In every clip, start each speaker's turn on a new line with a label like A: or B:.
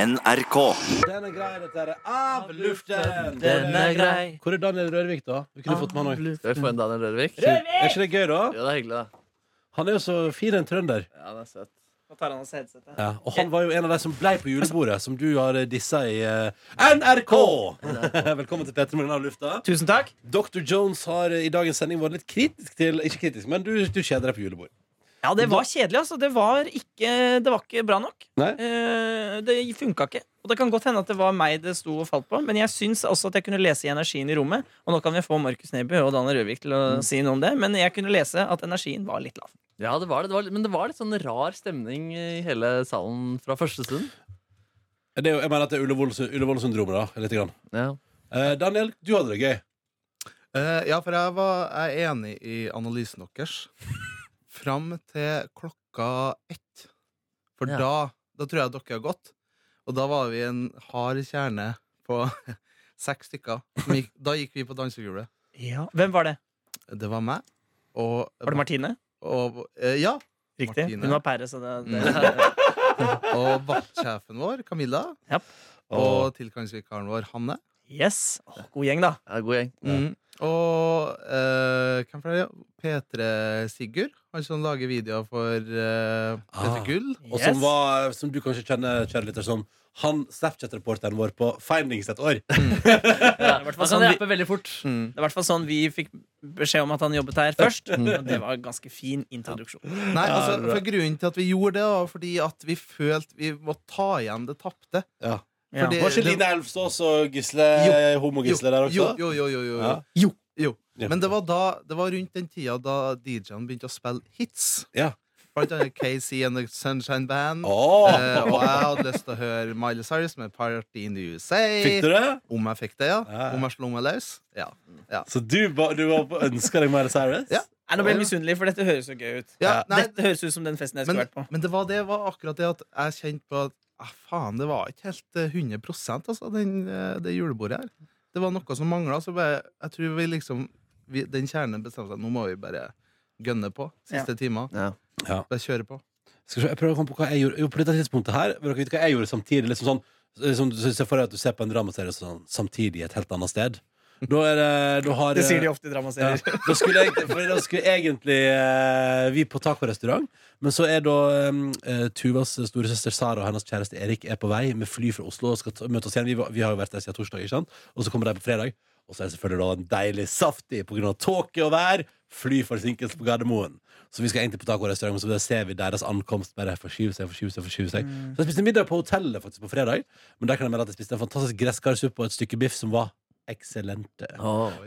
A: NRK.
B: Den er grei, dette her. Av luften!
C: Den er grei.
B: Hvor er Daniel Rørvik, da? Vi kunne fått med han òg.
C: Skal vi få en Daniel Rørvik?
B: Er ikke det gøy, da?
C: Ja, det er hyggelig, da.
B: Han er jo så fin en trønder.
C: Ja, det er søtt.
D: Nå tar han oss headsetet.
B: Ja, og han var jo en av de som blei på julebordet, som du har dissa i eh, NRK! Velkommen til Petter Morgen av lufta.
D: Tusen takk.
B: Dr. Jones har eh, i dagens sending vært litt kritisk til Ikke kritisk, men du, du kjeder deg på julebord.
D: Ja, det var kjedelig, altså. Det var ikke, det var ikke bra nok.
B: Nei?
D: Eh, det funka ikke. Og det kan godt hende at det var meg det sto og falt på, men jeg syns også at jeg kunne lese i energien i rommet. Og nå kan vi få Markus Neby og Daniel Røvik til å si noe om det, men jeg kunne lese at energien var litt lav.
C: Ja, det var det. det var, men det var litt sånn rar stemning i hele salen fra første stund.
B: Det er jo, jeg mener at det er Ullevål-syndromet, da. Litt grann.
C: Ja.
B: Eh, Daniel, du hadde det gøy.
E: Eh, ja, for jeg var jeg er enig i analysen deres. Fram til klokka ett. For
C: Ja.
E: da, da tror jeg dere har gått. Og da var vi en hard kjerne på seks stykker. som Gikk, da gikk vi på dansegulvet.
D: Hvem var det?
E: Det var meg og,
D: Var det Martine?
E: og eh, Ja.
D: Riktig.
E: Martine.
D: Hun var pære, så det, det.
E: Mm. og vaktsjefen vår, Camilla, og tilgangsvikaren vår, Hanne.
D: Yes. Åh, god gjeng, da.
C: Ja, god gjeng.
E: Mm. Og eh, hvem flere? P3 Sigurd, han som lager videoer for eh,
B: Ah.
E: P3 Gull.
B: Og
D: Yes.
B: som, var, eh, som du kanskje kjenner, kjære lytter, som han Snapchat-reporteren vår på Findings et år.
C: Ja,
D: hvert fall
C: altså,
D: sånn
C: han
D: vi-
C: rapper veldig fort.
E: Mm.
D: Det er i hvert fall sånn vi fikk beskjed om at han jobbet her først. Og det var en ganske fin introduksjon.
E: Nei, altså, for grunnen til at vi gjorde det, var fordi at vi følte vi måtte ta igjen det tapte.
D: Ja.
E: Fordi-
B: Var ikke Line Elfsås og Gisle homogisle der
E: jo,
B: også?
E: jo, jo, jo, jo.
B: Ja.
E: jo. jo.
B: Ja.
E: Men det var, da, det var rundt den tida da DJ-en begynte å spille hits.
B: Ja.
E: Blant annet KC and The Sunshine Band.
B: Åh!
E: Eh, og jeg hadde lyst til å høre Miley Cyrus med Party in the USA.
B: Fikk du det?
E: Om jeg fikk det, ja.
B: Ja, ja.
E: Om jeg slo meg løs. Ja.
B: Så du, ba, du var på ønska deg Miley Cyrus?
E: Ja.
D: Nei, nå ble jeg misunnelig, for dette høres jo gøy ut.
E: Ja, nei,
D: dette høres ut som den festen jeg skulle
E: men,
D: vært på.
E: men det var det var akkurat det at jeg kjente på at ah, faen, det var ikke helt eh, 100 altså, den, eh, det julebordet her. Det var noe som mangla. Så bare, jeg tror vi liksom vi, Den kjernen bestemte seg nå må vi bare gønne på. Siste timer.
C: Ja.
B: Ja.
E: Bare kjøre på.
B: Skal vi se, jeg prøver å komme på hva jeg gjorde Jo, på dette tidspunktet her Vil dere vite hva jeg gjorde samtidig? Liksom sånn liksom, du ser for deg at du ser på en dramaserie sånn, samtidig et helt annet sted. Da er det da har,
D: Det sier de
B: ja,
D: ofte i dramaserier.
B: Eh, da, skulle jeg, for da skulle egentlig eh, vi på tacorestaurant, men så er da eh, Tuvas storesøster Sara og hennes kjæreste Erik er på vei med fly fra Oslo og skal ta, møte oss igjen. Vi, var- vi har jo vært der siden torsdag, ikke sant? Og så kommer de på fredag. Og så er det selvfølgelig da en deilig saftig pga. tåke og vær. Flyforsinkelse på Gardermoen. Så vi skal egentlig på tacorestaurant, men så der ser vi deres ankomst bare forskyve seg. forskyve seg, forskyve seg Så jeg spiste middag på hotellet faktisk på fredag, men der kan jeg melde at jeg spiste en fantastisk gresskarsuppe og et stykke biff som var eksellente.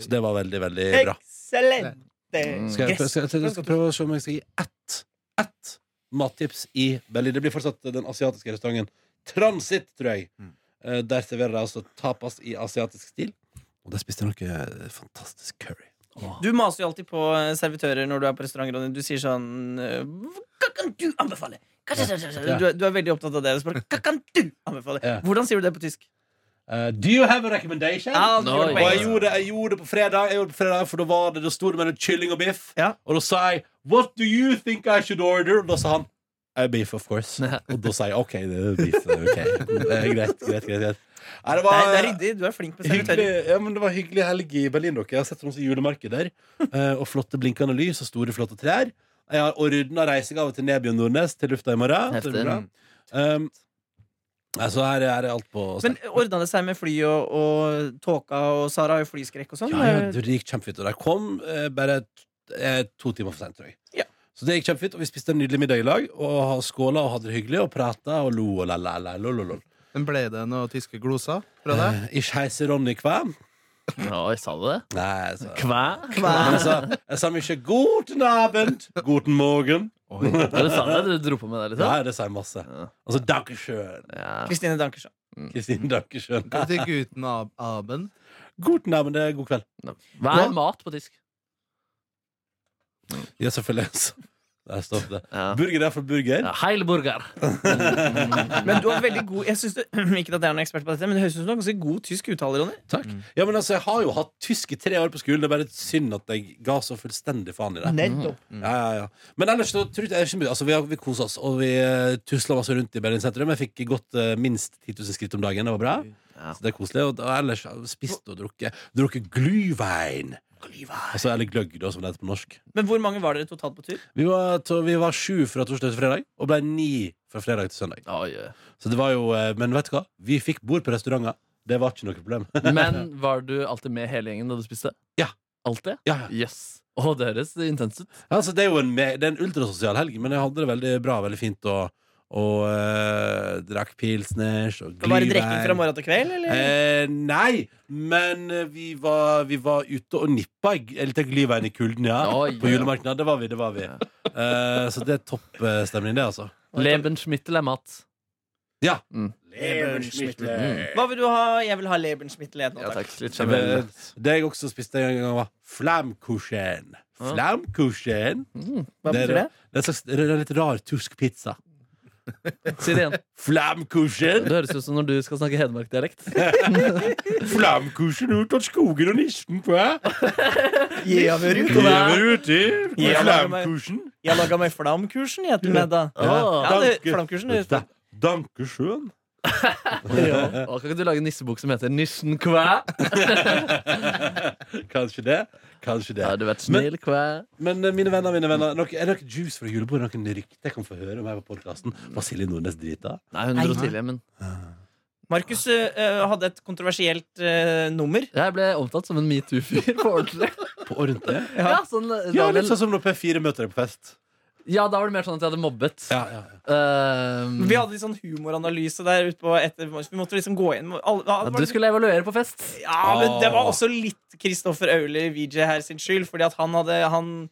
B: Så det var veldig, veldig bra.
D: Excellent!
B: Skal jeg,
D: Gress.
B: skal, jeg, skal, jeg skal prøve å se om jeg skal gi ett Ett mattips i Berlin. Det blir fortsatt den asiatiske restauranten Transit, tror jeg. Eh, Der serverer de altså tapas i asiatisk stil. Og der spiste jeg noe eh, fantastisk curry.
D: Du maser jo alltid på eh, servitører når du er på restaurant. Ronny. Du sier sånn eh, Hva kan du anbefale? Hva- Du er, du er veldig opptatt av det. Du spør, Hva kan du anbefale?
B: Ja.
D: Hvordan sier du det på tysk?
B: Eh, do you have a recommendation?
D: Ja, du
C: Nå,
D: gjør det på
B: Og jeg
D: engelsk.
B: gjorde, det- jeg gjorde det på fredag, jeg gjorde det på fredag for da var det, da sto det mellom kylling og biff.
D: Ja.
B: Og da sa jeg 'What do you think I should order?' Og da sa han «Eh, 'Beef, of course'. Og da sa jeg 'OK, det er beef'. ok. Eh, greit, greit, greit, greit. Nei, det
D: Det
B: var,
D: er, det er ryddig. Du er flink med servitører.
B: Hyggelig, ja, men det var hyggelig helg i Berlin. Dere. Jeg har sett masse julemarkeder eh, og flotte blinkende lys og store, flotte trær. Jeg har ordna reisegave til Nebjørn Nordnes til lufta i morgen. så det blir
C: Heftig.
B: bra. Um, nei, så her er det alt på
D: Mm. Men ordna det seg med fly og, og tåka, og Sara har jo flyskrekk og sånn?
B: Ja, ja, det gikk kjempefint. Og de kom eh, bare t- eh, to timer for sent, tror jeg.
D: Ja.
B: Så det gikk kjempefint, og vi spiste en nydelig middag i lag. Og skåla og hadde det hyggelig og prata og lo og la-la-la.
E: Men ble det noen tyske gloser fra deg?
B: Ikke heise Ronny Kvæm.
C: Oi, sa du det?
B: Nei, så.
C: Kvæ?
B: Men jeg sa, jeg sa mye 'Guten Abend', 'Guten Morgen'.
C: Ja, du sa det? Du dro på med det litt? da?
B: Ja, det sa jeg masse.
C: Ja. Mm.
B: Altså Dankeschön.
C: Ja.
D: Kristine Dankersson.
B: Kristin Dankeschön.
E: Hva betyr gutten Ab Aben?
B: Guten Abend, det er god kveld.
C: Hva er mat på tysk?
B: Ja, selvfølgelig. Der står det.
C: Ja.
B: Burger er fra burger.
C: Ja, Heilburger.
D: Men du har veldig god jeg synes du, Ikke at jeg er noen ekspert på dette, men det høres ut som du har ganske god tysk uttale, Ronny.
B: Takk.
C: Mm.
B: Ja, men altså, jeg har jo hatt tysk i tre år på skolen. Det er bare synd at jeg ga så fullstendig faen i det. Mm. Ja, ja, ja. Men ellers så tror jeg det er ikke mye. Altså, vi, har- vi kosa oss, og vi uh, tusla masse rundt i Berlin sentrum. Jeg fikk gått eh, minst 10 000 skritt om dagen. Det var bra.
C: Ja.
B: Så det er koselig. Og, og ellers har vi spist og drukket. Drukket glühwein. Altså, eller gløgg, da, som det heter på norsk.
D: Men hvor mange var dere totalt på tur?
B: Vi var, to, vi var sju fra torsdag til fredag, og ble ni fra fredag til søndag.
C: Oi, oi.
B: Så det var jo, eh, Men vet du hva? Vi fikk bord på restauranter. Det var ikke noe problem.
C: Men var du alltid med hele gjengen da du spiste?
B: Ja.
C: Alltid?
B: ja, ja.
C: Yes. Å, det høres intenst ut.
B: Altså, det er jo en, me- det er en ultrasosial helg, men jeg hadde det veldig bra, veldig fint. Og, og eh, drakk pilsners og
D: Var det drikking fra
B: glühwein.
D: morgen til kveld, eller?
B: Eh, nei, men eh, vi var, vi var ute og nippa i- eh, litt av glühwein i kulden, ja.
C: Oi,
B: på
C: ja.
B: julemarkedet. Det var vi, det var vi. Eh, så det er topp eh, stemning, det, altså.
C: Lebenschmittel er mat.
B: Ja.
C: Mm.
D: Hva vil du ha? Jeg vil ha Lebenschmittel. jeg nå,
C: Ja
D: takk.
C: takk. Litt
B: Det,
C: generelt.
B: det jeg også spiste en gang, var flamkuchen.
C: Ja.
B: Flamkuchen.
C: Mm.
D: Hva
B: Det er
D: betyr det?
B: Det er en slags det er en litt rar tysk pizza.
C: Si det igjen.
B: Flamkuchen!
C: Det høres ut som når du skal snakke hedmarkdialekt.
B: Flamkuchen ut av skogen og nissen på her.
D: Jeg
B: uti
D: Ja, laga meg flamkursen, jeg til middag. Ja,
B: Ja,
D: det,
B: danke.
D: flamkursen det-
B: Dankesjøen.
C: Ja. Å, Kan ikke du lage en nissebok som heter Nissen kvæ?
B: Kanskje det. Kanskje det.
C: Ja, du vet, snill kvæ.
B: Men eh, mine venner, mine venner nok, er det noe juice fra julebordet? Noen rykter jeg kan få høre om her på podkasten? Var Silje Nordnes drita?
C: Nei, hun dro tidlig, men
D: Markus eh, hadde et kontroversielt eh, nummer.
C: jeg ble omtalt som en metoo-fyr på ordentlig.
B: På ordentlig?
C: Ja, sånn, da,
B: Ja,
C: var
B: litt
C: det-
B: sånn som når P4 møter deg på fest.
C: ja, da var det mer sånn at jeg hadde mobbet.
B: Ja, ja, ja.
C: Ehm,
D: Vi hadde litt sånn humoranalyse der ute på etter Vi måtte liksom gå inn alle,
C: ja,
D: alle,
C: du skulle evaluere på fest.
D: Ja, men det
C: Ah.
D: var også litt Kristoffer Auli VJ her sin skyld, fordi at han hadde han,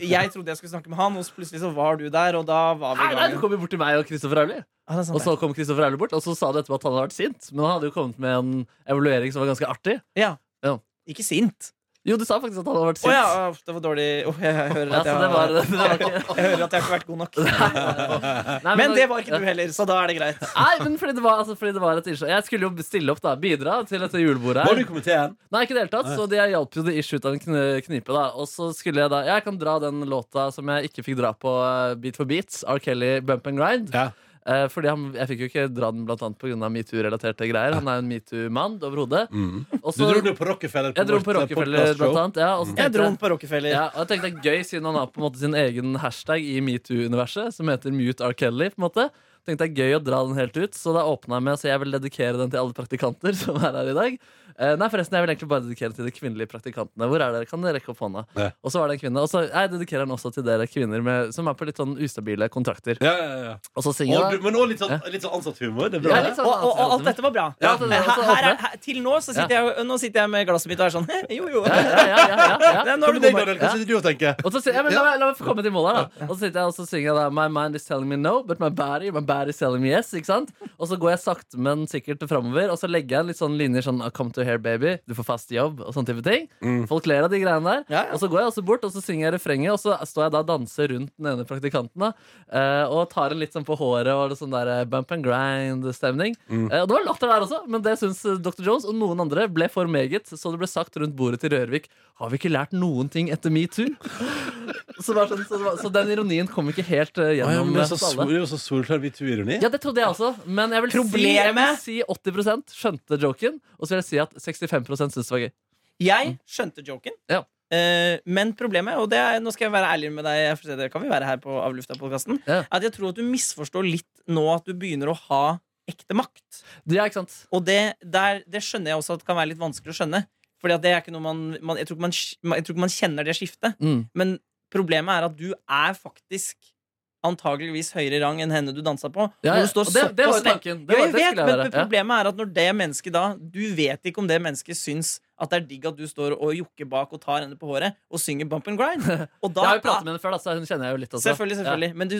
D: Jeg trodde jeg skulle snakke med han, og så plutselig så var du der, og da var vi
C: Nei,
D: i
C: nei, Du
D: gang.
C: kom jo bort til meg og Kristoffer Auli,
D: Ja, det er sant,
C: og så kom Kristoffer Auli bort, og så sa du etterpå at han hadde vært sint. Men han hadde jo kommet med en evaluering som var ganske artig.
D: det. ja.
C: Ja.
D: Ikke sint.
C: Jo, du sa faktisk at han hadde
D: Å
C: vært sint.
D: ja, å, det var dårlig Å, jeg, jeg, hører
C: Ja,
D: at
C: så
D: jeg,
C: det var,
D: har-
C: det var ikke,
D: jeg hører at jeg har ikke vært god nok.
C: nei,
D: Men det var ikke du heller, så da er det greit.
C: Nei, men fordi det var, altså, fordi det var et innslag. Jeg skulle jo stille opp, da. Bidra til dette julebordet.
B: Var du
C: her
B: i komiteen?
C: Nei, ikke i det hele tatt,
B: Nei.
C: så de hjalp jo det ikke ut av en kn- knipe. da Og så skulle jeg da Jeg kan dra den låta som jeg ikke fikk dra på eh, Beat for beat. R. Kelly, Bump and Grind.
B: Ja.
C: Eh, fordi han, Jeg fikk jo ikke dra den blant annet pga. metoo-relaterte greier. Han er jo en metoo-mann overhodet. Og
B: Mm. Du
C: så-
B: dro den jo på Mm. Rockefeller.
C: Jeg dro
B: vårt,
C: på
B: eh,
C: Rockefeller,
B: podcastshow.
C: blant annet. Ja, og så
D: Jeg
C: tenkte
D: dro
C: jeg
D: den på Rockefeller.
C: ja, og jeg tenkte det er gøy, siden han har på en måte sin egen hashtag i metoo-universet, som heter Mute R. Kelly. på en måte Tenkte det er gøy å dra den helt ut, så da åpna jeg med å si jeg vil dedikere den til alle praktikanter som er her i dag. Eh, nei, forresten, jeg vil egentlig bare dedikere til de kvinnelige praktikantene. Hvor er dere? Kan dere rekke opp hånda?
B: Ja.
C: Og så var det en kvinne. Og så jeg dedikerer den også til dere kvinner med, som er på litt sånn ustabile kontrakter.
B: Ja, ja, ja.
C: Og så synger
B: Og
C: jeg
B: du, men også litt sånn, litt sånn ansatt humor. Det er bra.
C: Ja, litt sånn
D: Og, og, og alt
C: ansikt-
D: dette var bra.
C: Ja, alt dette var
D: her,
C: også
D: her, er-
C: åpne.
D: her, til nå, så sitter jeg, nå sitter jeg med glasset mitt og er sånn Jo, jo.
C: ja, ja, ja, ja, ja.
D: Nei,
B: Hva
D: nå
B: med
D: er du
B: deg,
D: god, Mark.
B: Daniel? Hva sitter du og tenker?
C: Og så sier, ja, men, la, meg, la meg få komme til målet her, da. Og så sitter jeg og så synger jeg da My mind is telling me no, but my body, my body is telling me yes. Ikke sant? Og så går jeg sakte, men sikkert framover, og så legger jeg en litt sånn linjer sånn Come to here, baby. Du får fast jobb, og sånne type ting. Folk ler av de greiene der.
D: Mm. Ja, ja.
C: Og så går jeg også bort, og så synger jeg refrenget, og så står jeg da og danser rundt den ene praktikanten, da. eh, Og tar en litt sånn på håret og det sånn der eh, bump and grind-stemning.
D: Mm.
C: Eh, Og det var latter der også, men det syns eh, Dr. Jones og noen andre ble for meget, så det ble sagt rundt bordet til Rørvik Har vi ikke lært noen ting etter metoo? Så, det var sånn, så, det var, så den ironien kom ikke helt eh,
B: Å, ja,
C: gjennom
B: men det er
C: eh,
B: så
C: til
B: sol-
C: alle.
B: det er jo så solklar metoo-ironi.
C: Ja, det trodde jeg også, men jeg vil, si, jeg vil
D: Problemet-
C: si 80 skjønte joken. Og så vil jeg si at 65 syntes det var gøy.
D: Jeg skjønte joken.
C: Mm. Ja.
D: Eh, men problemet, og det er, nå skal jeg være ærlig med deg, for det kan vi være her på Avlufta-podkasten,
C: Ja.
D: at jeg tror at du misforstår litt nå at du begynner å ha ekte makt.
C: Det er ikke sant?
D: Og det, der, det skjønner jeg også at kan være litt vanskelig å skjønne. Fordi at det er ikke noe man, man, jeg, tror ikke man sk- man, jeg tror ikke man kjenner det skiftet.
C: Mm.
D: Men problemet er at du er faktisk antageligvis høyere i rang enn henne du dansa på. Når
C: Ja, ja.
D: du står
C: Og det, det
D: såpass
C: var jo
D: lenge-
C: tanken. Det
D: ja,
C: var,
D: jeg
C: det
D: vet,
C: skulle
D: men
C: jeg være. Ja.
D: problemet er at når det mennesket da Du vet ikke om det mennesket syns at det er digg at du står og jokker bak og tar henne på håret og synger Bump and Grind. Og da,
C: Jeg har jo pratet med henne før, da, så hun kjenner jeg jo litt. Også.
D: Selvfølgelig, selvfølgelig. Men du,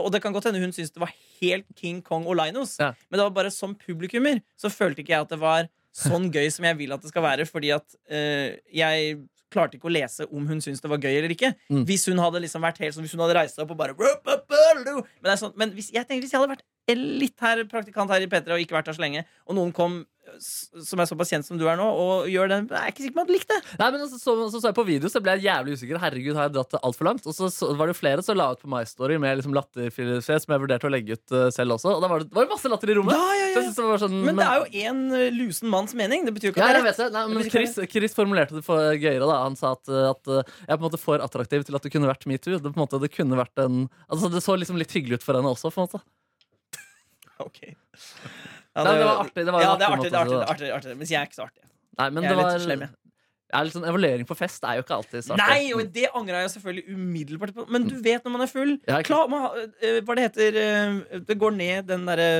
D: og det kan godt hende hun syntes det var helt King Kong og Linos.
C: Ja.
D: Men det var bare som publikummer så følte ikke jeg at det var sånn gøy som jeg vil at det skal være, fordi at eh, jeg klarte ikke å lese om hun syntes det var gøy eller ikke.
C: Mm.
D: Hvis hun hadde liksom vært helt sånn, hvis hun hadde reist seg opp og bare men, det er sånn, men hvis, jeg tenker, hvis jeg hadde vært litt her praktikant her i P3 og ikke vært her så lenge, og noen kom s- som er såpass kjent som du er nå, og gjør den Jeg er ikke sikker på om jeg hadde likt det.
C: Nei, men så, så, så, så jeg på video, så ble jeg jævlig usikker. Herregud, har jeg dratt det altfor langt? Og så, så var det flere som la ut på My Story med liksom latterfjes, som jeg vurderte å legge ut eh, selv også. Og da var det, var det masse latter i rommet.
D: Ja, ja, ja.
C: Så jeg synes det var sånn,
D: Men det er jo én lusen manns mening. Det betyr jo ikke
C: ja,
D: at det
C: jeg
D: er rett.
C: vet det. Nei,
D: Det
C: men
D: betyr ikke
C: Chris, Chris formulerte det for gøyere. da Han sa at, eh, at eh, jeg er på en måte for attraktiv til at det kunne vært metoo. Det, på en måte, det kunne vært en Altså det så liksom litt hyggelig ut for henne også. på en måte
D: Ok. Ja,
C: Nei, men det var artig. Det var en
D: ja, det er artig,
C: artig
D: det er artig,
C: måte å si det.
D: artig, artig, artig. Mens jeg er ikke så artig.
C: Nei, men
D: Jeg er
C: det
D: litt
C: var,
D: slem, jeg.
C: Ja, litt sånn Evaluering på fest er jo ikke alltid så artig.
D: Nei, og det angra jeg selvfølgelig umiddelbart på. Men du vet når man er full.
C: Ja, ikke-
D: Klar, man, har- øh, hva det heter øh, Det går ned, den derre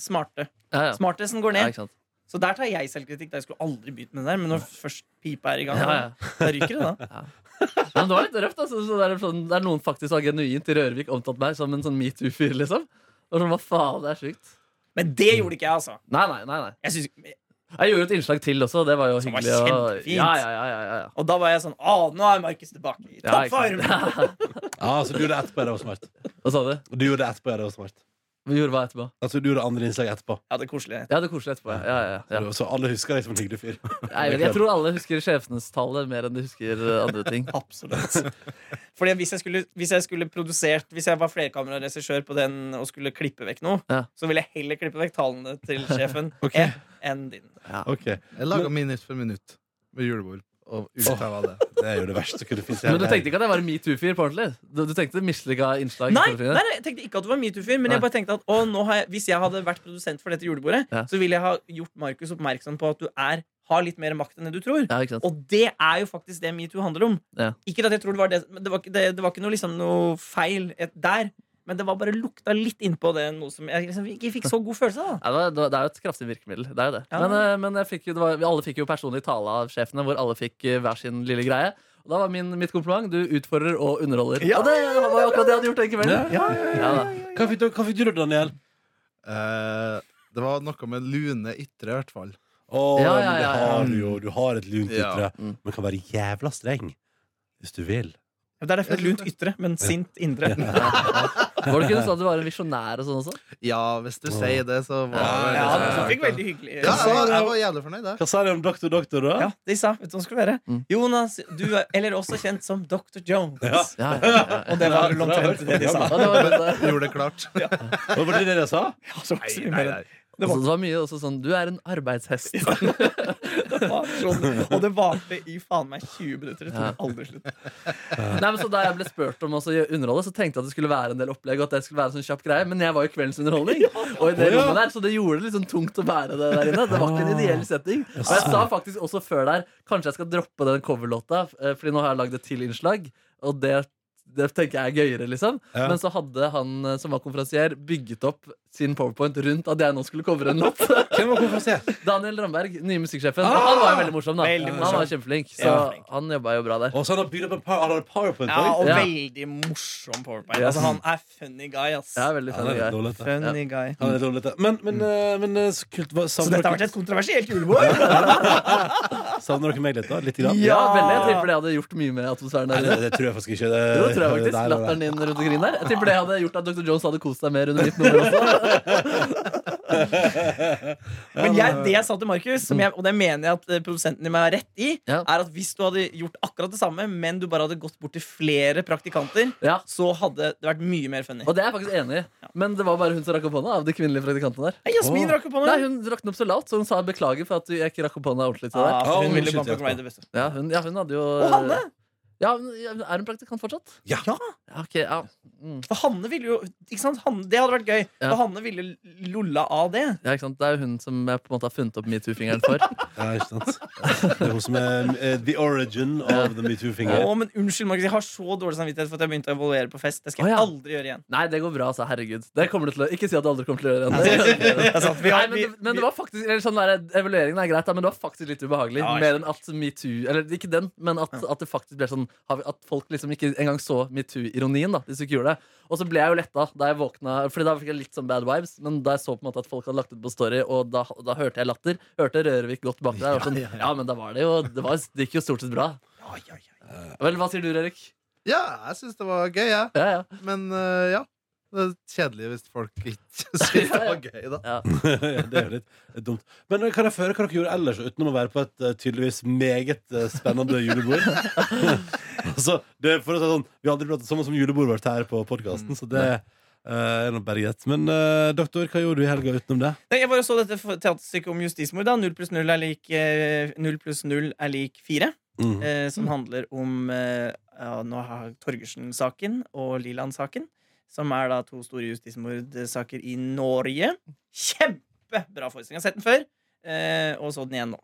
D: smarte.
C: ja, ja.
D: Smartesen går
C: Ja,
D: ned.
C: ikke sant?
D: Så der tar jeg selvkritikk. Da Jeg skulle aldri begynt med det der, men når først pipa er i gang,
C: Ja, ja.
D: da- da ryker det, da.
C: Nei, men det var litt røft. Altså. Så det, er sånn, det er noen faktisk som har genuint i Rørvik omtalt meg som en sånn metoo-fyr. liksom og sånn, Hva faen, det er sjukt.
D: Men det gjorde ikke jeg, altså.
C: Nei, nei, nei, nei.
D: Jeg synes,
C: Jeg gjorde et innslag til også. Det var jo
D: Som var
C: hyggelig. og-
D: kjempefint.
C: ja, ja, ja, ja, ja, ja.
D: og da var jeg sånn Å, nå er Markus tilbake i
C: Ja, ikke sant.
D: toppform!
B: Ja, så du gjorde det etterpå, ja, det var smart.
C: Hva sa du?
B: Du gjorde det etterpå, ja, det var smart.
C: Vi gjorde hva etterpå?
B: Altså, du gjorde andre innslag etterpå.
D: Ja, det er koselig.
C: Ja, det er koselig etterpå. Ja, ja, ja. ja.
B: Så alle husker deg som en hyggelig fyr.
C: Nei, men jeg tror alle husker sjefenes tale mer enn de husker eh, andre ting.
D: Absolutt. Fordi hvis jeg skulle, hvis jeg skulle produsert Hvis jeg var flerkameraregissør på den og skulle klippe vekk noe,
C: Ja.
D: så ville jeg heller klippe vekk talene til sjefen
B: Ok.
D: enn- enn din.
B: Ok,
E: Jeg laga minutt for minutt med julebord. Og utheva det.
B: Det er jo det verste som kunne finnes i
C: Men
B: hele
C: du tenkte
B: verden.
C: ikke at jeg var en metoo-fyr på ordentlig? Du, du tenkte mislykka innslag?
D: Nei,
C: for
D: nei,
C: å finne.
D: nei, jeg tenkte ikke at du var metoo-fyr, men
C: Nei.
D: jeg bare tenkte at å, nå har jeg, hvis jeg hadde vært produsent for dette julebordet,
C: Ja.
D: så ville jeg ha gjort Markus oppmerksom på at du er, har litt mer makt enn det du tror.
C: Ja, ikke sant?
D: Og det er jo faktisk det metoo handler om.
C: Ja.
D: Ikke at jeg tror det var det, men det var, ikke- det, det var ikke noe, liksom, noe feil et, der. Men det var bare lukta litt innpå det, noe som jeg liksom ikke fikk så god følelse av. da.
C: Nei, det, var- det, var- det er jo et kraftig virkemiddel. Det er jo det.
D: Ja.
C: Men, eh, men jeg fikk, jo- det var, vi alle fikk jo personlig tale av sjefene, hvor alle fikk eh, hver sin lille greie. Og da var min, mitt kompliment du utfordrer og underholder.
B: Ja,
C: og det var jo akkurat det jeg hadde gjort den kvelden.
B: Ja.
C: Ja, da.
B: Hva fikk du, hva fikk du da, Daniel?
E: Eh, det var noe med lune ytre, i hvert fall.
B: Å,
C: Ja,
B: men
C: ja,
B: det
C: ja, ja.
B: har du jo. Du har et lunt
E: Ja.
B: ytre.
C: Mm.
B: Men kan være jævla streng. Hvis du vil.
D: Det er derfor et lunt ytre, men sint indre.
C: Var det ikke noe sånn at du var en visjonær og sånn også?
E: Ja, hvis du
B: Åh.
E: sier det, så var det
D: Ja,
E: veldig-
D: så fikk veldig hyggelig
E: ja, jeg var, jeg var jævlig fornøyd, jeg.
B: Hva sa de om doktor doktor, da?
D: Ja, de sa, vet du hva det skulle være?
C: Mm.
D: Jonas, du er, eller også kjent som Dr. Jones.
B: Ja.
C: Ja, ja, ja, ja.
D: Og det var vel
B: Ja, det var
D: omtrent det de sa.
C: Og det var, det,
E: Gjorde det klart.
B: Hva var det det de sa?
D: Så ikke så mye mer enn-
C: det, var, det var mye også sånn Du er en arbeidshest.
D: det var sånn. Og det varte i faen meg 20 minutter. Det tok aldri slutt.
C: Nei, men så Da jeg ble spurt om å så gjøre underholde, så tenkte jeg at det skulle være en del opplegg. Og at det skulle være en sånn kjapp greie Men jeg var jo kveldens underholdning. Og i det
B: Å, ja.
C: rommet der, Så det gjorde det litt sånn tungt å bære det der inne. Det var ikke en
B: Ah.
C: ideell setting. Og jeg sa faktisk også før der kanskje jeg skal droppe den coverlåta, eh, Fordi nå har jeg lagd et til innslag. Og det, det tenker jeg er gøyere, liksom.
B: Ja.
C: Men så hadde han eh, som var konferansier, bygget opp sin powerpoint rundt at jeg nå skulle covre en låt.
B: Hvem var konferansier?
C: Daniel Ramberg, nye musikksjefen.
B: Ah!
C: Han var jo veldig morsom, da.
D: Veldig morsom.
C: Han var kjempeflink. Så
D: Ja, flink.
C: han jobba jo bra der.
B: Og så han har bygd opp en power, han har powerpoint.
D: Ja, og
C: Ja.
D: veldig morsom powerpoint. Altså, han er funny guy, ass.
C: Ja, veldig
B: Ja, det
C: funny
B: er
C: guy.
B: litt dårlig, det.
D: Funny guy.
B: Ja, det er litt dårlig, det. Men, men, eh, men eh, så kult hva-
D: Så
B: savner
D: dette har vært
B: dere-
D: et kontroversielt julebord!
B: Savner dere meg litt, da? Litt grann?
D: Ja.
C: Ja, veldig. Jeg tipper det hadde gjort mye med atmosfæren
B: Nei,
C: der.
B: det, det tror jeg faktisk ikke. Det,
C: Jo, det tror
B: det-
C: jeg faktisk.
B: nei, nei, nei.
C: Latteren din rundt omkring der. Jeg tipper det hadde gjort at Dr. Jones hadde kost seg mer under mitt nummer også.
D: Men jeg, det jeg sa til Markus, som jeg- og det mener jeg at eh, produsenten din har rett i,
C: Ja.
D: er at hvis du hadde gjort akkurat det samme, men du bare hadde gått bort til flere praktikanter,
C: Ja.
D: så hadde det vært mye mer funny.
C: Og det er jeg faktisk enig i. Men det var bare hun som rakk opp hånda av de kvinnelige praktikantene der.
D: Nei, Jasmin rakk opp
C: Nei,
D: hånda!
C: hun rakk den opp så lavt, så hun sa beklager for at du- jeg ikke rakk opp hånda ordentlig til
D: Ah,
C: deg.
B: Å,
D: for hun ville
B: shit,
D: Bumper
B: Jasmin.
D: Grinder, vet du.
C: Ja, hun, ja, hun hadde jo
D: Og Hanne!
C: Ja, hun- ja, hun Er hun praktikant fortsatt?
B: Ja.
C: Ja, ok, ja. Mm.
D: For Hanne ville jo ikke sant? Hanne, Det hadde vært gøy.
C: Ja.
D: For Hanne ville lulla av det.
C: ja, ikke sant? Det er jo hun som jeg på en måte har funnet opp metoo-fingeren for.
B: Ja, ikke sant? Det er hun som er eh, the origin of the metoo-finger.
D: Å, men unnskyld, Markus. Jeg har så dårlig samvittighet for at jeg begynte å evaluere på fest. Det skal
C: Å,
D: jeg
C: ja.
D: aldri gjøre igjen.
C: Nei, det går bra, altså. Herregud. Det kommer du til å Ikke si at du aldri kommer til å gjøre det.
D: vi har-
C: Nei, men, det, men det var faktisk eller sånn der, Evalueringen er greit, da, men det var faktisk litt ubehagelig.
D: Ja, jeg
C: Mer enn at metoo Eller ikke den, men at, at det faktisk ble sånn At folk liksom ikke engang så metoo-ironien. da Hvis du ikke gjorde det Og så ble jeg jo letta da jeg våkna, Fordi da fikk jeg litt sånn bad vibes. Men da jeg så på en måte at folk hadde lagt ut på Story, og da, da hørte jeg latter, hørte Rørvik godt bak der, og sånn, ja, men da var det jo det, var, det gikk jo stort sett bra. Vel, hva sier du, Erik?
E: Ja, jeg syns det var gøy, jeg.
C: Ja, ja.
E: Men eh, ja. Det er kjedelig hvis folk ikke syns det var gøy, da.
B: Ja, det er jo litt dumt. Men kan jeg føre hva dere gjorde ellers, utenom å være på et eh, tydeligvis meget eh, spennende julebord? altså, det er for å si det sånn, Vi har aldri pratet sammen som julebordet vårt her på podkasten, så det eh, er nå bare greit. Men eh, doktor, hva gjorde du i helga utenom det?
D: Nei, Jeg bare så dette for- teaterstykket om justismord. da 0 pluss 0 er lik, eh, 0 pluss 0 er lik 4.
B: Mhm.
D: eh, som handler om eh, ja, nå har Torgersen-saken og Liland-saken. Som er da to store justismordsaker i Norge. Kjempebra forestilling! Jeg har sett den før, eh, og så den igjen nå.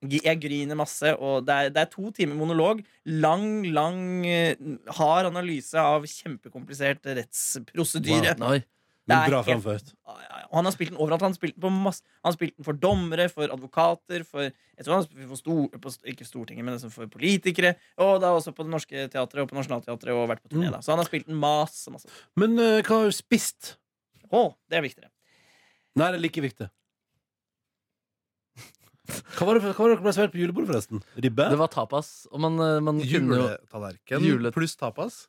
D: G- Jeg griner masse, og det er, det er to timer monolog. Lang, lang, eh, hard analyse av kjempekomplisert rettsprosedyre.
C: Wow. Oi.
D: Det
B: Men
D: er
B: bra
D: helt-
B: framført.
D: Ja, Ah, ja, ja. Og han har spilt den overalt. Han har spilt, den på masse, han har spilt den for dommere, for advokater, for jeg tror han har spilt for stor, på, st- Ikke Stortinget, men liksom for politikere. Og da også på Det Norske Teatret og på Nationaltheatret og vært på turné.
B: Mm.
D: da Så han har spilt den masse, masse.
B: Men eh, hva har du spist?
D: Å, det er viktigere.
B: Nei, det er like viktig. Hva var det, hva var det dere ble servert på julebordet, forresten? Ribbe?
C: Det var tapas. Og man, eh, man kunne jo
E: Juletallerken
C: Jule-
E: pluss tapas,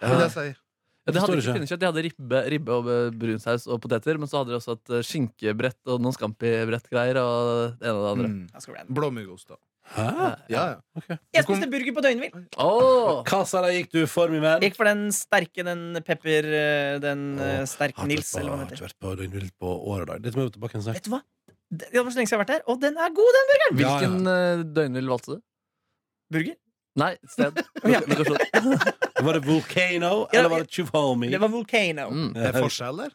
C: Ja.
E: vil jeg si.
C: ja, De hadde
B: Forstår
C: ikke
B: ikke.
C: pinnekjøtt, de hadde ribbe, ribbe og eh, brunsaus og poteter. Men så hadde de også et eh, skinkebrett og noen scampi-brettgreier. Og det ene og det andre.
E: Mm.
D: Jeg, skal bli enig.
E: Blåmuggost, da.
B: Hæ?
E: Ja, ja.
D: jeg spiste burger på døgnhvil.
C: Åh!
B: Hva sa de gikk du for, min venn?
D: Gikk for den sterke, den pepper eh, Den eh,
B: Å,
D: sterke
B: Har ikke
D: Nils,
B: vært på-
D: eller hva den
B: har
D: heter.
B: ikke vært på døgnvill på år og dag. Dette må vi tilbake igjen snart.
D: Vet du hva? Det det var så lenge siden jeg har vært der, og den er god, den
B: Ja, ja.
C: Hvilken eh, døgnvill valgte du?
D: burger.
C: Nei, sted.
D: Ja.
C: Lokasjon.
B: Var det Volcano,
D: Ja,
B: eller var det Chuvomi?
D: Det var Volcano.
C: Mm.
E: Det er forskjell der.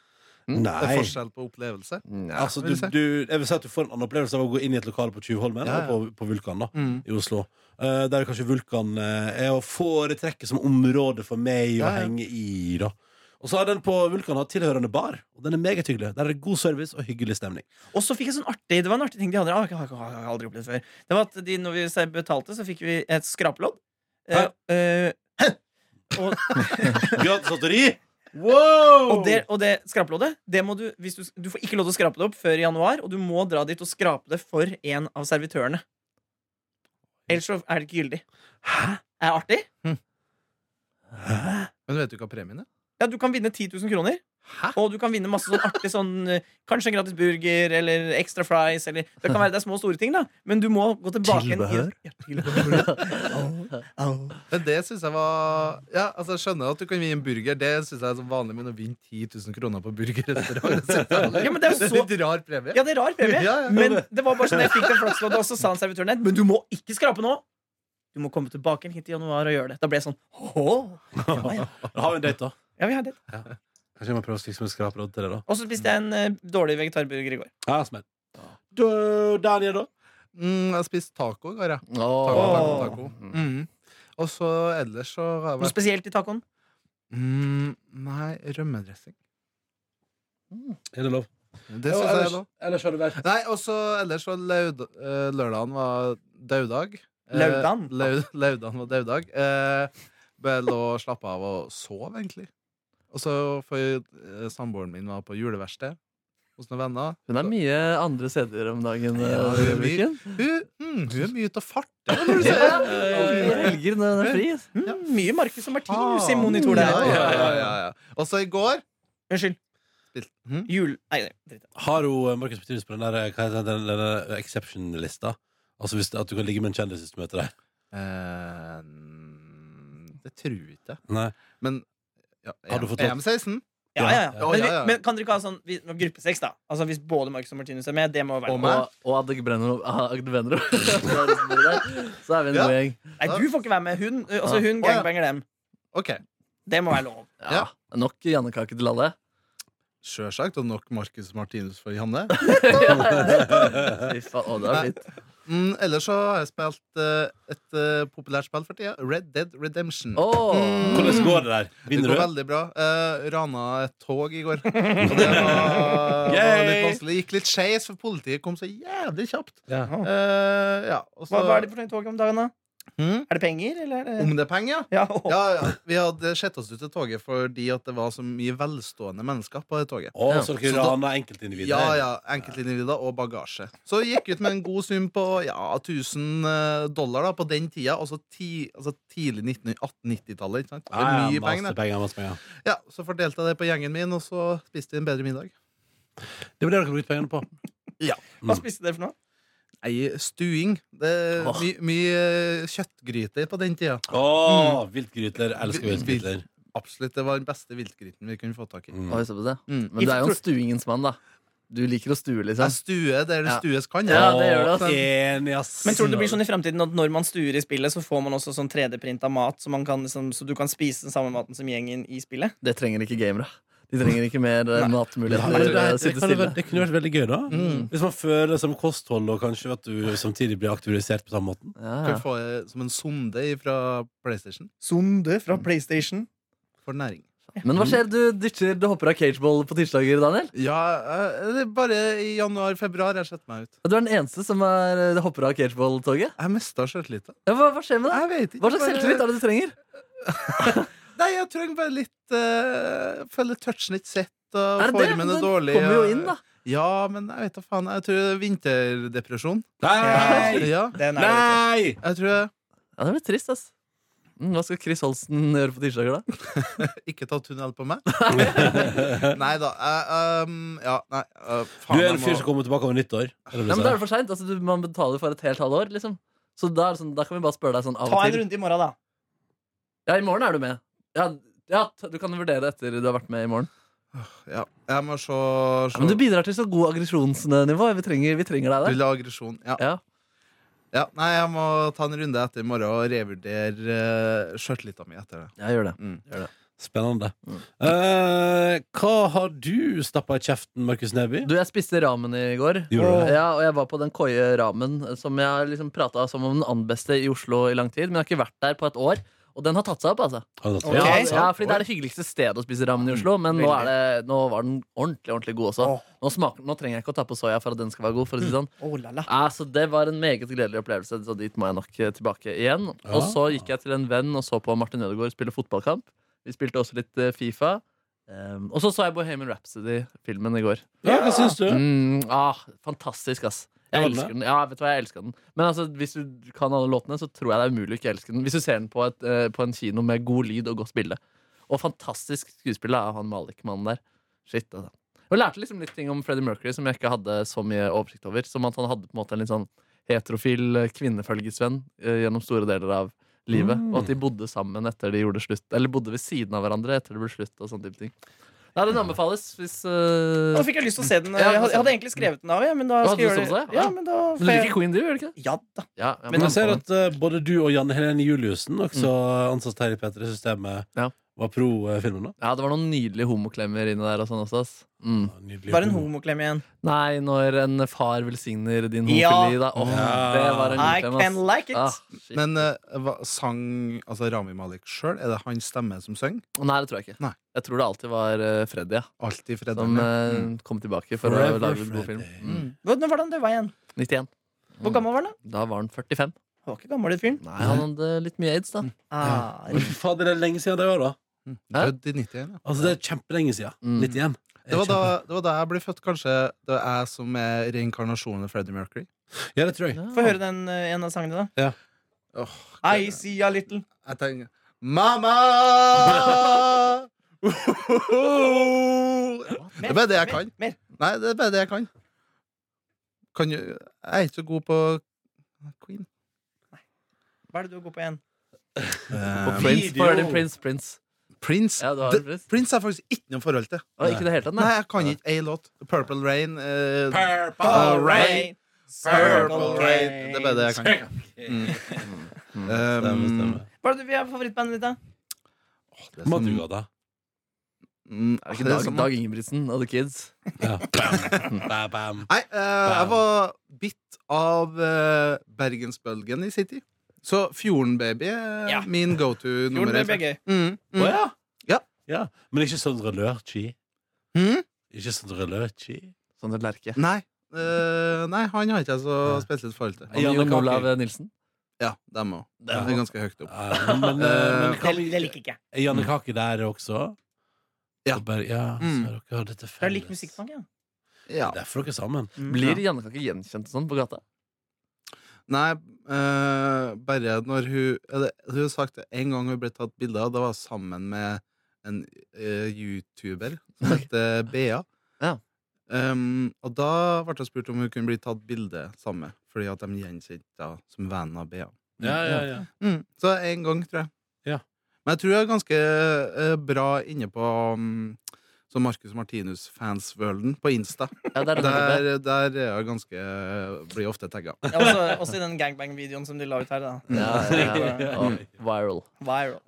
E: Det
B: Nei.
E: er forskjell på opplevelse.
C: Nja.
B: Altså, du,
E: vil du si?
B: du, jeg vil si at du får en annen opplevelse av å gå inn i et lokale på Tjuvholmen
E: Ja,
B: og
E: ja.
B: på, på Vulkan da, i Oslo. Eh, der kanskje Vulkan eh, er å foretrekke som område for meg å
E: Ja, ja.
B: henge i. da Og så har den på Vulkan hatt tilhørende bar, og den er meget hyggelig. Der er det god service og hyggelig stemning.
D: Og så fikk jeg sånn artig Det var en artig ting de hadde. ah, Jeg har ikke- jeg har aldri opplevd det før. Det var at de, når vi se- betalte, så fikk vi et skrapelodd. Eh, eh, og,
B: Gratis lotteri! Wow!
D: og, det, og det skrapeloddet det må du, hvis du, du får ikke lov til å skrape det opp før i januar, og du må dra dit og skrape det for en av servitørene. Ellers så er det ikke gyldig.
B: Hæ?
D: Er det artig?
E: Men vet du hva premien er?
D: Ja, Du kan vinne 10 000 kroner.
E: Hæ?
D: Og du kan vinne masse sånn artig sånn eh, Kanskje en gratis burger eller extra fries. Eller, det kan være det er små og store ting, da. Men du må gå tilbake igjen i-
B: Tilbehør?
D: Ja, tilbehør.
E: Men det synes jeg var Ja, altså jeg skjønner at du kan vinne en burger. Det synes jeg er så vanlig, men å vinne 10 000 kroner på burger etter år det synes jeg
D: Ja, men det er jo
E: er
D: så
E: litt rar premie.
D: Ja, det er rar premie,
E: Ja, ja.
D: men det var bare sånn jeg fikk det flaksloddet, og så sa han servitøren der, men du må ikke skrape nå. Du må komme tilbake igjen hit i januar og gjøre det. Da ble jeg sånn «Åh, ja, ja.
B: Da har vi en date, da.
D: ja, vi har det.
B: Kanskje jeg må prøve å stikke som en skrapelodd til det, da.
D: Og så spiste jeg en eh, dårlig vegetarburger i går.
B: Ja, smell. Du, Daniel, da?
E: Mm, jeg spiste taco i går, jeg. Taco,
C: Åh.
E: taco, taco. Mm. Og så ellers så har jeg
D: Noe
E: vært
D: spesielt i tacoen.
E: mm, Nei, rømmedressing.
B: Er det lov?
E: Det synes jeg er lov.
B: ellers har du vært
E: Nei, og så ellers så laud, eh, lørdagen var daudag. Eh,
D: Laudan?
E: Laud, laudan var daudag. Eh, bare lå og slappa av og sov, egentlig. Og så for eh, samboeren min var på juleverksted hos noen venner.
C: Hun er mye andre steder om dagen. eh,
E: Ja, hun er mye-
C: Ulrikken.
E: Hun, mm, hun er mye ute og farter. når du
C: Ja,
E: ser
C: ja,
E: det.
C: ja, ja. Helger når hun er fri.
D: Eh, Mm,
E: Ja.
D: Mye Marcus og Martinus i
E: Faen.
D: monitor der.
E: Ja, ja, ja, ja, ja. Og så i går
D: Unnskyld.
E: spilte hm?
D: Jul... Nei, nei, dritt.
B: Har hun eh, Markus Petrus på den der, eh, hva heter den, den der exception-lista? Altså hvis, at du kan ligge med en kjendis hvis du møter deg?
E: eh, mm, Det tror jeg ikke.
B: Nei.
E: Men ja,
B: Har du fått lov-
E: EM16
D: Ja, ja, ja.
E: Ja,
D: Men,
E: ja, ja.
D: vi- men kan dere ikke ha sånn vi- gruppesex, da? Altså Hvis både Marcus og Martinus er med, det må være
E: Og
D: lov.
E: meg.
C: Og, og Agde Brenner- Agde Brenner. Så er vi en
E: Ja.
C: god gjeng.
D: Nei, du får ikke være med. Hun, eh, altså, hun
E: Å, ja.
D: gangbanger dem.
E: Ok,
D: Det må være lov.
C: Ja. Nok jannekake til alle.
E: Sjølsagt. Og nok Marcus Martinus for Janne.
C: Fy faen, å, det er fint.
E: Mm, ellers så har jeg spilt eh, et eh, populært spill for tida. Red Dead Redemption.
C: Åh.
B: Hvordan går det der?
E: det
B: Vinner
E: går
B: du?
E: veldig bra. Eh, rana et tog i går. Og det var, var litt
B: Yay!
E: vanskelig. Det gikk litt skeis, for politiet kom så jævlig kjapt.
B: Ja.
E: Eh, ja, og så
D: Hva, hva er det for noe tog om dagen, da?
E: Hm?
D: Er det penger, eller er det
E: Om det er penger, ja?
D: ja, å,
E: Ja, ja. Vi hadde sett oss ut til toget fordi at det var så mye velstående mennesker på det toget.
B: Å, så dere
E: Så da-
B: raner enkeltindivider?
E: Ja, ja, Enkeltindivider og bagasje. Så jeg gikk ut med en god sum på ja, 1000 eh, dollar da, på den tida. Altså, ti, altså tidlig 19 1890-tallet. ikke sant? Det
B: Ja,
E: er
B: ja,
E: mye
B: masse
E: penger. det.
B: penger, masse penger.
E: Ja, så fordelte jeg det på gjengen min, og så spiste vi en bedre middag.
B: Det var det dere brukte pengene på.
D: Hva spiste dere for noe?
E: Nei, stuing. Det er
C: Åh.
E: mye my kjøttgryter på den tida.
B: Å,
E: Mm.
B: viltgryter. Elsker
E: Vilt-
B: viltgryter.
E: Absolutt, Det var den beste viltgryten vi kunne få tak i.
B: Mm.
C: Oi, se på det.
E: Mm.
C: Men du er jo en stuingens mann, da. Du liker å stue,
E: Jeg
C: liksom.
E: stuer der det
C: Ja.
E: stues kan.
C: Ja, det gjør det,
B: Å,
C: altså.
B: Enig, ass.
D: Men tror du det blir sånn i fremtiden at når man stuer i spillet, så får man også sånn 3D-printa mat, så, man kan, liksom, så du kan spise den samme maten som gjengen i spillet?
C: Det trenger ikke gamere. De trenger ikke mer eh,
B: det,
C: matmuligheter.
B: det, det,
C: eh,
B: det,
C: Sitte
B: kan jo være-
C: stille.
B: det kunne vært veldig gøy, da.
E: Mm.
B: Hvis man fører det som kosthold, og kanskje at du samtidig blir aktivisert på samme måten.
C: Ja, ja.
E: Kan få det eh, som en sonde fra PlayStation
D: Sonde fra PlayStation.
E: for næring.
C: Men hva skjer? Du ditcher, du hopper av cageball på tirsdager, Daniel.
E: Ja, eh, det er bare i januar-februar jeg setter meg ut.
C: Du er den eneste som er, eh, hopper av cageball-toget.
E: Jeg mista sjøltilliten.
C: Ja, hva, hva skjer med det?
E: Jeg vet ikke.
C: Hva slags
E: bare-
C: selvtillit er det du trenger?
E: Nei, jeg trenger bare litt uh, Føler touchen ikke sett, og
C: Er det det?
E: formen
C: Men
E: er
C: den
E: dårlig.
C: kommer jo
E: og-
C: inn, da.
E: Ja, men jeg vet da faen. Jeg tror det er vinterdepresjon.
B: Nei!
E: Ja,
D: Den er jo ikke-
B: Nei!
E: jeg tror
C: Ja, Det blir trist, ass. Mm, hva skal Chris Holsten gjøre på tirsdager, da?
E: jeg Ikke ta tunnel på meg. nei da. Jeg, um, ja, nei. eh,
B: Du
E: faen,
B: er en
E: jeg
B: fyr
E: må-
B: som kommer tilbake over nyttår. er det du
C: Ja, men Da er
B: sier.
C: det for seint. Altså, du- man betaler for et helt halvt år, liksom. Så da, er det sånn, da kan vi bare spørre deg sånn av
D: Ta
C: og
D: en
C: til.
D: runde i morgen, da.
C: Ja, i morgen er du med. Ja, ja, t- du kan vurdere etter du har vært med i morgen.
E: Ja, jeg må se,
C: Ja,
E: se.
C: men du bidrar til så god aggresjonsnivå. Vi trenger, vi trenger deg der.
E: Du vil ha aggresjon. Ja.
C: Ja.
E: ja. Nei, jeg må ta en runde etter i morgen og revurdere uh, sjøltilliten min etter det.
C: Ja, gjør det.
E: Mm.
B: Spennende. Eh, hva har du stappa i kjeften, Markus Neby?
C: Du, jeg spiste ramen i går.
B: Gjorde
D: du det?
C: Ja, og jeg var på den koie ramen som jeg har liksom prata som om den annen beste i Oslo i lang tid. Men jeg har ikke vært der på et år. Og den har tatt seg opp, altså.
B: Har du tatt
D: Ok.
B: det?
C: Ja, ja, fordi det er det hyggeligste stedet å spise ramen i Oslo, men nå, er det, nå var den ordentlig ordentlig god også.
D: Åh.
C: Nå, smaker, nå trenger jeg ikke å ta på soya for at den skal være god. for å si det sånn
D: Oh, la, la.
C: ja, så Det var en meget gledelig opplevelse, så dit må jeg nok eh, tilbake igjen. Og så gikk jeg til en venn og så på Martin Ødegaard spille fotballkamp. Vi spilte også litt eh, Fifa. Um, og så så jeg Bohemian Rhapsody-filmen i går.
B: Ja, hva syns du?
C: Mm, ah, fantastisk, ass. Jeg
B: Ja, den er.
C: elsker den. Ja, vet du hva, jeg elsker den. Men altså, hvis du kan alle låtene, så tror jeg det er umulig å ikke elske den. Hvis du ser den på, et, eh, på en kino med god lyd og godt bilde. Og fantastisk skuespill av han Malik-mannen der. Shit, altså. Og jeg lærte liksom litt ting om Freddie Mercury som jeg ikke hadde så mye oversikt over. Som at han hadde på en måte en litt sånn heterofil eh, kvinnefølgesvenn eh, gjennom store deler av livet.
B: Mm.
C: Og at de bodde sammen etter de gjorde slutt. Eller bodde ved siden av hverandre etter det ble slutt. og sånne type ting. Nei, den anbefales hvis eh,
D: Nå fikk jeg lyst til å se den.
C: Ja,
D: Jeg hadde, jeg hadde egentlig skrevet den av, ja, men da
C: Ja,
D: skal
C: du
D: jeg gjøre
C: som
D: det.
C: sa det? Ja.
D: Ja, men da
C: Du
D: får
C: liker
D: jeg...
C: Queen, du, gjør du ikke det?
D: Ja da.
C: Ja, ja,
B: Men
D: Men
C: den
B: jeg ser
C: får
B: at eh, både du og Janne Helene Juliussen, også ansatt her i P3-systemet,
C: Ja. Mm.
B: var pro eh, filmen. da
C: Ja, det var noen nydelige homoklemmer inni der og sånn også. ass. Mm.
B: Nydelig.
D: Bare en homoklem igjen.
C: Nei, når en far velsigner din
D: Ja.
C: homofili, da. Åh,
B: Ja.
C: Det var en
D: I
C: god klem,
D: can
C: ass.
D: like it.
C: Ah, shit.
E: Men eh, hva, sang altså Rami Malik sjøl? Er det hans stemme som synger?
C: Nei, det tror jeg ikke.
E: Nei.
C: Jeg tror det alltid var eh, Freddy ja,
E: Alltid
C: som
E: Fredrik.
C: eh, kom tilbake for å
B: Forever
C: lage en god film.
B: Freddy.
C: Mm.
D: Hvordan var det han døde igjen?
C: 91. Mm.
D: Hvor gammel var han? da?
C: Da var han 45.
D: Han var ikke gammel, den fyren.
C: Nei, han hadde litt mye aids, da.
D: Ah,
B: Men fy Fader, det er lenge siden det var, da.
C: eh, Hæ?
E: Død Mm. i 91, ja.
B: Altså, det er kjempelenge siden.
C: Mm.
B: 91.
E: Det var, da, det var da jeg ble født, kanskje. Det var jeg som er reinkarnasjonen av Freddie Mercury.
B: Ja, det tror jeg.
D: Få høre den eh, en av sangene, da.
E: Åh,
D: I see a little.
E: jeg tenker Mamma! Det er bare det jeg kan.
D: Mer.
E: Nei, det er bare det jeg kan. kan jo, jeg er ikke så god på Queen.
D: Hva er det du er god på igjen?
C: På
E: Eh,
C: Prince.
B: video.
C: Få høre din Prince. Prince.
E: Prince
C: Ja, du har
E: Det-
C: en Prince.
E: Prince har jeg faktisk ikke noe forhold til.
C: Å, ikke i det hele tatt,
E: Nei,
C: nei.
E: jeg kan ikke ei låt. Purple Rain. eh,
B: Purple
E: Rain,
D: Circle
E: Rain. Det er bare det jeg kan. Mm.
B: Stemmer,
E: Um,
B: stemmer.
D: Hva er det du har favorittbandet ditt, da?
E: det er så-
B: Madrugada.
E: Mm,
C: Er det
E: det
C: ikke
E: er
C: Dag,
E: så-
C: Dag Ingebrigtsen og The Kids?
B: Ja. Bam, bam, bam.
E: Nei, eh, jeg var bitt av eh, Bergensbølgen i City. Så Fjordenbaby er
D: Ja.
E: min go to nummer
D: Fjorden
E: én.
D: ble gøy.
E: Mm, mm.
B: Å ja.
E: Ja.
B: ja. Men ikke sånn relørchi.
E: Mm?
B: Ikke sånn relørchi.
C: Sånn et lerke.
E: Nei. Eh, nei, han har ikke jeg så spesielt forhold til.
B: Janne
C: Jon
B: Kake.
C: Olav Nilsen.
E: Ja, dem òg. Det
B: Ja.
E: er ganske høyt opp.
B: Ja, men, eh, men hva
D: Det, det
B: med
D: liker ikke jeg.
B: Jannekake der også?
E: Ja.
B: Og Bare, ja
E: Mm.
B: så dere har dette
D: Det er
B: felles.
D: lik musikkbank, ja.
E: Ja.
B: Derfor dere er sammen.
C: Blir Jannekake gjenkjent og sånn på gata?
E: Nei, eh, bare når hun eller, Hun har sagt det en gang hun ble tatt bilde av. Da var hun sammen med en eh, YouTuber som heter Bea.
C: Ja.
E: Em, og da ble hun spurt om hun kunne bli tatt bilde sammen med, fordi at de gjenkjente henne som vennen av Bea.
B: Ja, ja, ja.
E: Mm, så én gang, tror jeg.
B: Ja.
E: Men jeg tror jeg er ganske eh, bra inne på um, som Marcus Martinus-fansvølen på Insta.
C: Ja, det er det.
E: Der, der er jeg ganske eh, Blir jeg ofte tagga.
D: Ja, Også, også i den gangbang-videoen som de la ut her. da
C: Ja, ja, ja. Og viral.
D: Viral.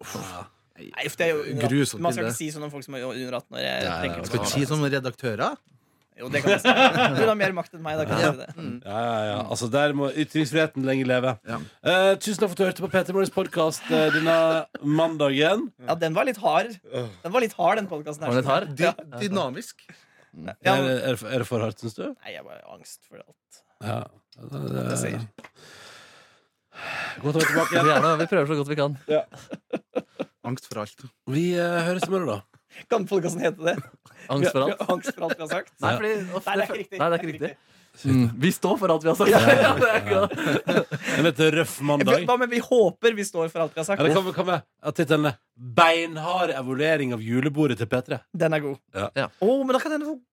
D: Nei, uff, det er jo under 18.
E: Grusomt
D: Man skal
E: bilde.
D: ikke si sånn om folk som er under 18 år. Jeg
B: Ja, ja,
D: tenker
B: ja.
D: på
E: Skal
D: det.
E: vi si sånn? som redaktører?
D: Jo, det kan jeg si. Hun har mer makt enn meg. Da kan jeg si det.
B: Ja, ja, ja. Altså, der må ytringsfriheten lenge leve.
E: Ja.
B: Eh, tusen takk for at du hørte på Peter Morgens podkast denne mandagen.
D: Ja, den var litt hard. Den var litt hard, den podkasten her.
C: Var den litt hard?
D: Ja.
E: Dynamisk.
D: Ja,
B: Er,
D: men-
B: er, det- er det for hardt, syns du?
D: Nei, jeg bare har angst for alt.
B: Ja. eh,
D: Jeg sier.
B: Godt å være tilbake igjen.
C: Gjerne, vi prøver så godt vi kan.
E: Angst for alt.
B: Vi eh, høres i morgen, da.
D: Kan podkasten hete det?
C: Angst for alt.
D: Angst for alt vi har sagt?
C: Nei, fordi, uff,
D: Nei, det er ikke riktig.
C: Nei, det er ikke riktig. Mm. Vi står for alt vi har sagt. Ja, det er akkurat det.
B: En litt røff mandag.
D: Hva med vi håper vi står for alt vi har
B: Eller
D: sagt?
B: kan vi kan vi- at tittelen er 'Beinhard evaluering av julebordet til P3'?
D: Den er god.
B: Ja.
C: Ja.
D: Å, men da kan hende folk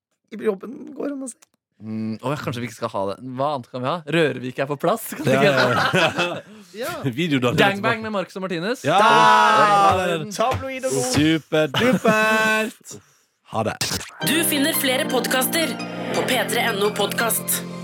D: i jobben går an å si.
C: Mm, åh, kanskje vi ikke skal ha det. Hva annet kan vi ha? Rørvik er på plass. Kan vi
B: Ja,
C: ikke ha det?
B: ja,
E: Ja.
B: ja. Videodagen er tilbake.
C: Gangbang med Marcus og Martinus.
B: Ja,
C: Der!
D: Ah!
B: der er den.
D: Tabloid og god.
B: Superdupert! Ha det.
A: Du finner flere podkaster på p3.no podkast.